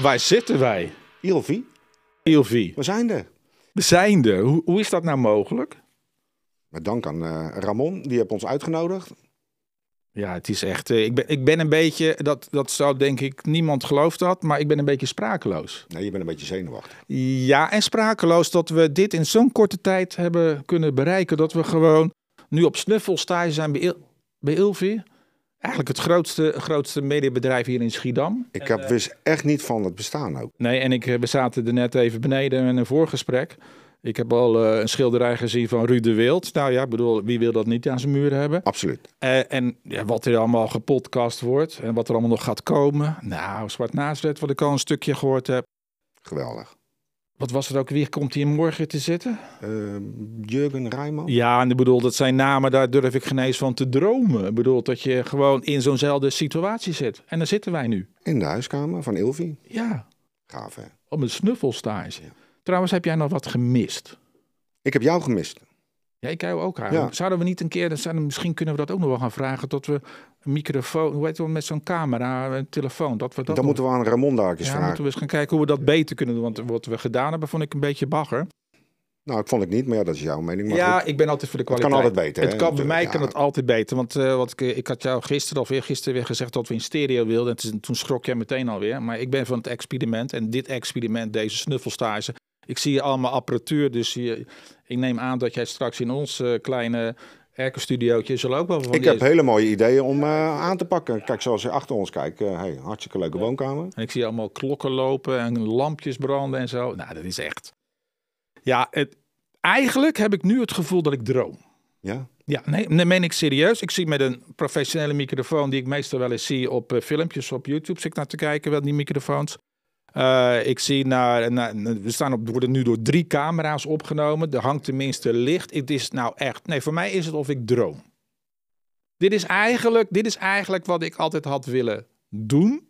waar zitten wij? Ilvi, Ilvi, we zijn er. we zijn er. Hoe, hoe is dat nou mogelijk? Met dank aan eh, Ramon, die heeft ons uitgenodigd. Ja, het is echt. eh, Ik ben, ik ben een beetje. Dat, dat zou denk ik niemand geloofd had. Maar ik ben een beetje sprakeloos. Nee, je bent een beetje zenuwachtig. Ja, en sprakeloos dat we dit in zo'n korte tijd hebben kunnen bereiken. Dat we gewoon nu op snuffelstage zijn bij, Il- bij Ilvi. Eigenlijk het grootste, grootste mediabedrijf hier in Schiedam. Ik heb, wist echt niet van het bestaan ook. Nee, en ik, eh, we zaten er net even beneden in een voorgesprek. Ik heb al eh, een schilderij gezien van Ruud de Wild. Nou ja, ik bedoel, wie wil dat niet aan zijn muur hebben? Absoluut. Eh, en ja, wat er allemaal gepodcast wordt en wat er allemaal nog gaat komen. Nou, Zwart Naaslet, wat ik al een stukje gehoord heb. Geweldig. Wat was het ook weer? Komt hij morgen te zitten? Eh, Jurgen Rijman? Ja, en ik bedoel, dat zijn namen, daar durf ik geen eens van te dromen. Ik bedoel, dat je gewoon in zo'nzelfde situatie zit. En daar zitten wij nu. In de huiskamer van Ilvi. Ja, Gaaf, hè? op een snuffelstage. Ja. Trouwens, heb jij nog wat gemist? Ik heb jou gemist. Ja, ik jou ook eigenlijk. Ja. Zouden we niet een keer, dan zouden- misschien kunnen we dat ook nog wel gaan vragen, dat we een microfoon, hoe heet dat, met zo'n camera, een telefoon, dat we dat Dan nog- moeten Dus we aan Ramon daar ook ja, eens vragen. moeten we eens gaan kijken hoe we dat beter kunnen doen. Want wat we gedaan hebben, vond ik een beetje bagger. Nou, ik vond het niet, maar ja, dat is jouw mening. Maar ja, goed. ik ben altijd voor de kan kwaliteit. altijd beter, Het hè, kan, bij mij natuurlijk, kan ja. het altijd beter. Want eh, wat ik, ik had jou gisteren of weer gisteren weer gezegd dat we in stereo wilden. En toen- toen schrok jij meteen alweer. Maar ik ben van het experiment. En dit experiment, deze snuffelstage. Ik zie hier allemaal apparatuur. Dus je, ik neem aan dat jij straks in ons eh, kleine erkenstudiootje zal ook wel van ik die- heb hele mooie ideeën om eh, aan te pakken. Kijk, zoals je achter ons kijkt, eh, hey, hartstikke leuke woonkamer. En ik zie allemaal klokken lopen en lampjes branden en zo. Nou, dat is echt. Ja, het, eigenlijk heb ik nu het gevoel dat ik droom. Ja, Ja, nee, dat meen ik serieus. Ik zie met een professionele microfoon, die ik meestal wel eens zie op eh, filmpjes op YouTube, zit ik naar te kijken, wel die microfoons. Eh, ik zie naar, naar- we staan op, worden nu door drie camera's opgenomen. Er hangt tenminste licht. Het is nou echt, nee, voor mij is het of ik droom. Dit is eigenlijk, dit is eigenlijk wat ik altijd had willen doen.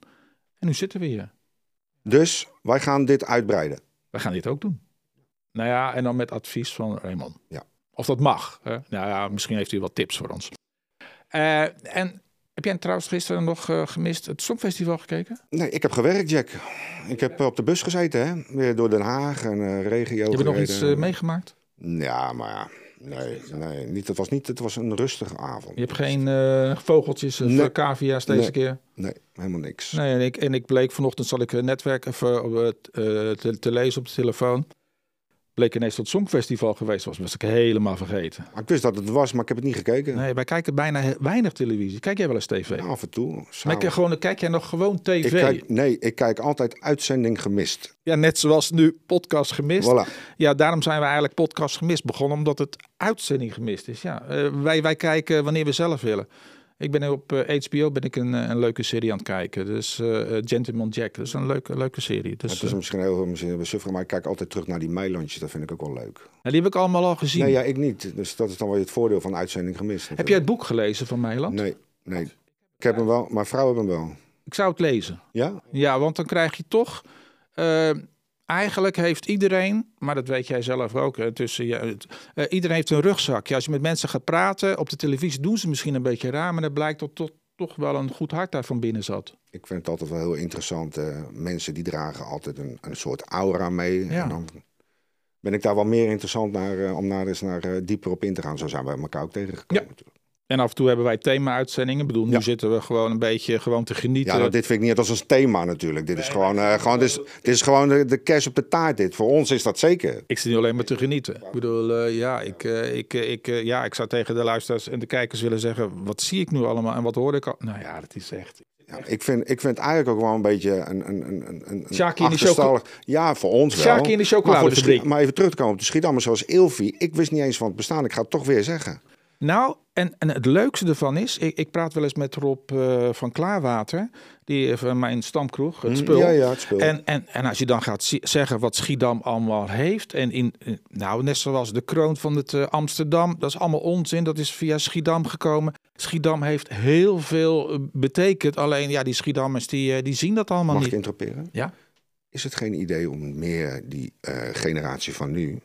En nu zitten we hier. dus wij gaan dit uitbreiden. We gaan dit ook doen. Nou ja, en dan met advies van Raymond. Ja. Of dat mag. Hè? Nou ja, misschien heeft hij wat tips voor ons. Eh, en heb jij trouwens gisteren nog eh, gemist het Songfestival gekeken? Nee, ik heb gewerkt, Jack. Ik heb eh, op de bus gezeten, hè? Weer door Den Haag en eh, regio. Heb je nog gereden. iets eh, meegemaakt? Ja, maar ja. Nee, nee niet, het, was niet, het was een rustige avond. Je hebt geen eh, vogeltjes of Nee. eh, cavia's deze Nee. keer? Nee, helemaal niks. Nee, en ik, en ik bleek vanochtend, zal ik een netwerk even eh, t- eh, te, te lezen op de telefoon. Bleek ineens dat het Songfestival geweest was. Was ik helemaal vergeten. Maar ik wist dat het was, maar ik heb het niet gekeken. Nee, wij kijken bijna he- weinig televisie. Kijk jij wel eens tv? Ja, af en toe. Maar s'avonds. ik, gewoon, kijk jij nog gewoon tv? Nou, Ik kijk, nee, ik kijk altijd uitzending gemist. Ja, net zoals nu podcast gemist. Voilà. Ja, daarom zijn we eigenlijk podcast gemist begonnen, omdat het uitzending gemist is. Ja, eh, wij, wij kijken wanneer we zelf willen. Ik ben op eh, HBO ben ik een, eh, een leuke serie aan het kijken. Dus eh, eh, Gentleman Jack, dat is een leuke, leuke serie. Dus, Het is eh, misschien heel misschien heel suffer, maar ik kijk altijd terug naar die meilandjes. Dat vind ik ook wel leuk. die heb ik allemaal al gezien. Nee, ja, ik niet. Dus dat is dan wel het voordeel van uitzending gemist. Heb jij het boek gelezen van Meiland? Nee, nee. Ik heb hem wel, mijn vrouw heeft hem wel. Ik zou het lezen. Ja? Ja, want dan krijg je toch. eh, eigenlijk heeft iedereen, maar dat weet jij zelf ook. Hè, tussen je, het- eh, iedereen heeft een rugzak. Ja, als je met mensen gaat praten op de televisie, doen ze misschien een beetje raar, maar dan blijkt dat toch, toch wel een goed hart daar van binnen zat. Ik vind het altijd wel heel interessant. eh, mensen die dragen altijd een, een soort aura mee. Ja. En dan ben ik daar wel meer interessant naar, eh, om daar eens naar, eh, dieper op in te gaan. Zo zijn we elkaar ook tegengekomen. Ja. natuurlijk. En af en toe hebben wij thema-uitzendingen. Ik bedoel, nu Ja. zitten we gewoon een beetje gewoon te genieten. Ja, nou, dit vind ik niet als een thema natuurlijk. Dit is gewoon, eh, gewoon, dit is, dit is gewoon de, de kers op de taart. Dit. Voor ons is dat zeker. Ik zit nu alleen maar te genieten. Ik bedoel, eh, ja, ik, eh, ik, eh, ik, eh, ja, ik zou tegen de luisteraars en de kijkers willen zeggen... wat zie ik nu allemaal en wat hoor ik al? Nou ja, dat is echt... Ja, ik, vind, ik vind het eigenlijk ook wel een beetje een, een, een, een, een Sjaakje in de achterstallig- Ja, voor ons wel. Sjaakje in de Maar, voor de chocoladefabriek. Schi- maar even terug te komen op de Schiedammers zoals Ilvi. Ik wist niet eens van het bestaan. Ik ga het toch weer zeggen. Nou, en, en het leukste ervan is, ik, ik praat wel eens met Rob eh, van Klaarwater, die eh, van mijn stamkroeg, het spul. Mm, Ja, ja, het spul. En, en, en als je dan gaat zi- zeggen wat Schiedam allemaal heeft, en in, eh, nou, net zoals de kroon van het eh, Amsterdam, dat is allemaal onzin, dat is via Schiedam gekomen. Schiedam heeft heel veel eh, betekend, alleen ja, die Schiedammers die, eh, die zien dat allemaal Mag ik niet. interroperen? Ja. Is het geen idee om meer die eh, generatie van nu...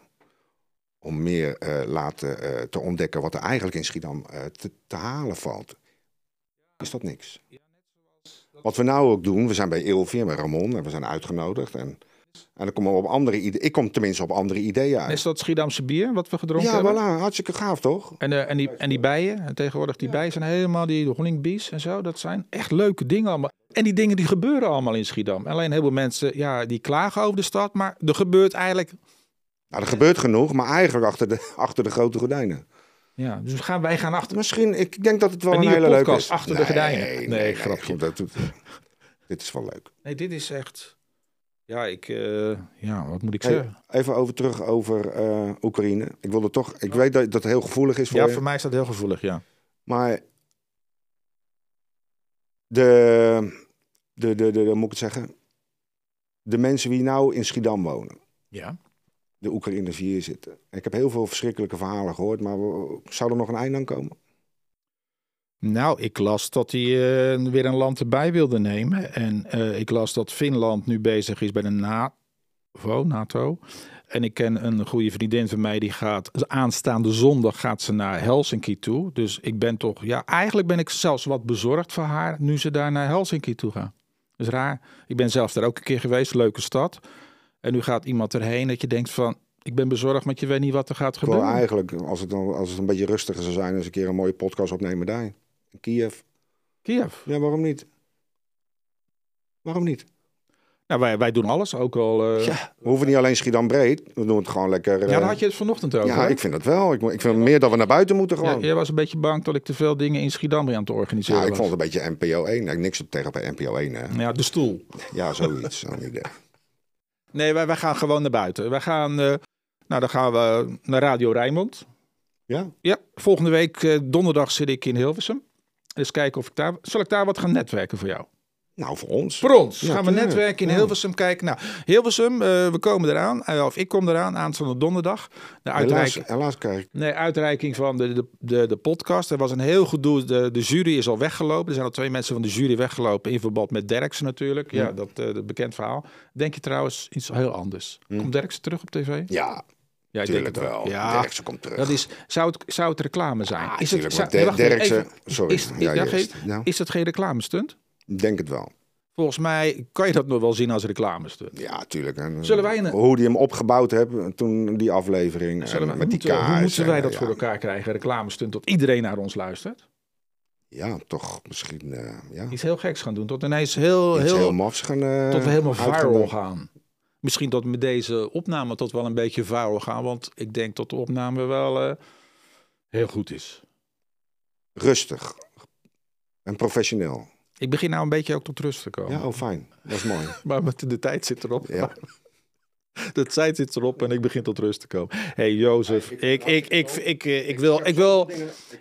om meer eh, laten eh, te ontdekken wat er eigenlijk in Schiedam eh, te, te halen valt? Is dat niks? Wat we nou ook doen, we zijn bij Ilvi en bij Ramon en we zijn uitgenodigd. En, en dan komen we op andere ideeën. Ik kom tenminste op andere ideeën Net uit. Is dat Schiedamse bier wat we gedronken Ja, hebben? voilà, hartstikke gaaf toch? En, eh, en, die, en die bijen, en tegenwoordig die bijen zijn helemaal die honningbees en zo. Dat zijn echt leuke dingen allemaal. En die dingen die gebeuren allemaal in Schiedam. Alleen heel veel mensen ja, die klagen over de stad, maar er gebeurt eigenlijk... Nou, er gebeurt genoeg, maar eigenlijk achter de, achter de grote gordijnen. Ja, dus we gaan, wij gaan achter. Misschien, ik denk dat het wel Een een, nieuwe hele leuke podcast, is. Achter de Gordijnen. Nee, grapje. goed, dat doet, dit is wel leuk. Nee, dit is echt... Ja, ik... eh, ja, wat moet ik Hey, zeggen? even over terug over eh, Oekraïne. Ik wilde toch, ik weet dat dat heel gevoelig is voor ja, je, voor mij is dat heel gevoelig, ja. maar de, de, de, de, de- hoe moet ik het zeggen? De mensen die nou in Schiedam wonen, Ja. de Oekraïners die hier zitten. Ik heb heel veel verschrikkelijke verhalen gehoord, maar we- zou er nog een eind aan komen? Nou, ik las dat hij eh, weer een land erbij wilde nemen. En eh, ik las dat Finland nu bezig is bij de NAVO, NATO. En ik ken een goede vriendin van mij die gaat aanstaande zondag gaat ze naar Helsinki toe. Dus ik ben toch, ja, eigenlijk ben ik zelfs wat bezorgd voor haar nu ze daar naar Helsinki toe gaat. Dat is raar. Ik ben zelf daar ook een keer geweest, leuke stad. En nu gaat iemand erheen dat je denkt van, ik ben bezorgd, want je weet niet wat er gaat Ik wil gebeuren. eigenlijk, als het, dan, als het een beetje rustiger zou zijn, eens een keer een mooie podcast opnemen daar. In Kiev. Kiev. Ja, waarom niet? Waarom niet? Nou, wij, wij doen alles, ook al... eh, ja, We hoeven niet alleen Schiedam breed. We doen het gewoon lekker. eh, daar had je het vanochtend over. ja, hè? ik vind dat wel. Ik, mo- ik vind meer dat we naar buiten moeten Ja, gewoon. Ja, jij was een beetje bang dat ik te veel dingen in Schiedam weer aan het organiseren ik was. vond het een beetje NPO 1. Nou, niks op tegen bij NPO 1. Hè. Ja, de stoel. Ja, zoiets. zo'n idee. Nee, wij, wij gaan gewoon naar buiten. Wij gaan, eh, nou, dan gaan we naar Radio Rijnmond. Ja, Ja, volgende week eh, donderdag zit ik in Hilversum. Dus kijken of ik daar... Zal ik daar wat gaan netwerken voor jou? nou voor ons. Voor ons. Ja, gaan we tuurlijk. netwerken in Ja. Hilversum kijken. Nou, Hilversum, eh, we komen eraan. eh, of ik kom eraan aanstaande donderdag. De Helaas, uitreiking, helaas krijg ik. nee, uitreiking van de, de, de, de podcast. Er was een heel gedoe. De, de jury is al weggelopen. Er zijn al twee mensen van de jury weggelopen. In verband met Derksen natuurlijk. Ja, Ja. dat, eh, dat bekend verhaal. Denk je trouwens iets heel anders? Komt Derksen terug op tv? Hm. Ja, Ja, ik natuurlijk het wel. Ja, Derksen komt terug. dat is, zou, het, zou het reclame zijn? Ah, is het, tuurlijk, zou, want nee, Der- wacht even, Derksen- even. sorry. Is, Ja, ja, eerst. geen- Ja. is dat geen reclamestunt? ik denk het wel. Volgens mij kan je dat nog wel zien als reclamestunt. Ja, tuurlijk. En, eh, Zullen wij een- Hoe die hem opgebouwd hebben toen die aflevering. Zullen en we, met die moeten, we- kaars. hoe moeten en, eh, wij dat ja. voor elkaar krijgen? Reclamestunt dat iedereen naar ons luistert. Ja, toch misschien eh, ja. Iets heel geks gaan doen. Tot ineens heel, iets heel, heel mafs gaan. eh, tot we helemaal viral uitgebracht. gaan. Misschien dat met deze opname tot wel een beetje viral gaan. Want ik denk dat de opname wel eh, heel goed is. Rustig. En professioneel. Ik begin nou een beetje ook tot rust te komen. Ja, oh fijn. Dat is mooi. Maar met de tijd zit erop. Ja. De tijd zit erop en ik begin tot rust te komen. Hé hey, Jozef, ik, ik, ik, ik, eh, ik, wil, ik, wil,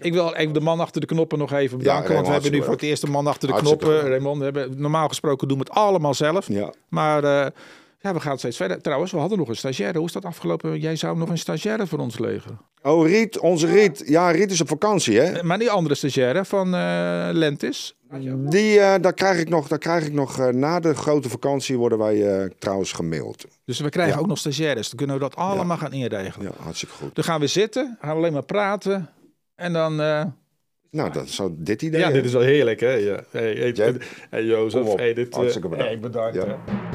ik wil even de man achter de knoppen nog even bedanken. want Raymond, we hebben nu hartstikke voor het eerst een man achter de Hartstikke knoppen. leuk. Raymond, we hebben, normaal gesproken doen we het allemaal zelf. ja. Maar eh, ja, we gaan steeds verder. Trouwens, we hadden nog een stagiaire. Hoe is dat afgelopen? Jij zou nog een stagiaire voor ons legen. Oh, Riet, onze Riet. Ja, Riet is op vakantie, hè? Eh, Maar die andere stagiaire van eh, Lentis. Die, eh, daar krijg ik nog, daar krijg ik nog eh, na de grote vakantie worden wij eh, trouwens gemaild. Dus we krijgen ook nog stagiaires. Dan kunnen we dat allemaal gaan inregelen. Ja, hartstikke goed. Dan gaan we zitten, gaan we alleen maar praten. En dan... eh, Nou, dat zou dit idee. Ja, hè? dit is wel heerlijk, hè? Ja. Hey, hey, Jij- hey, Jozef, Kom op. hey, dit, eh, Hartstikke bedankt. hey, bedankt Ja. hè.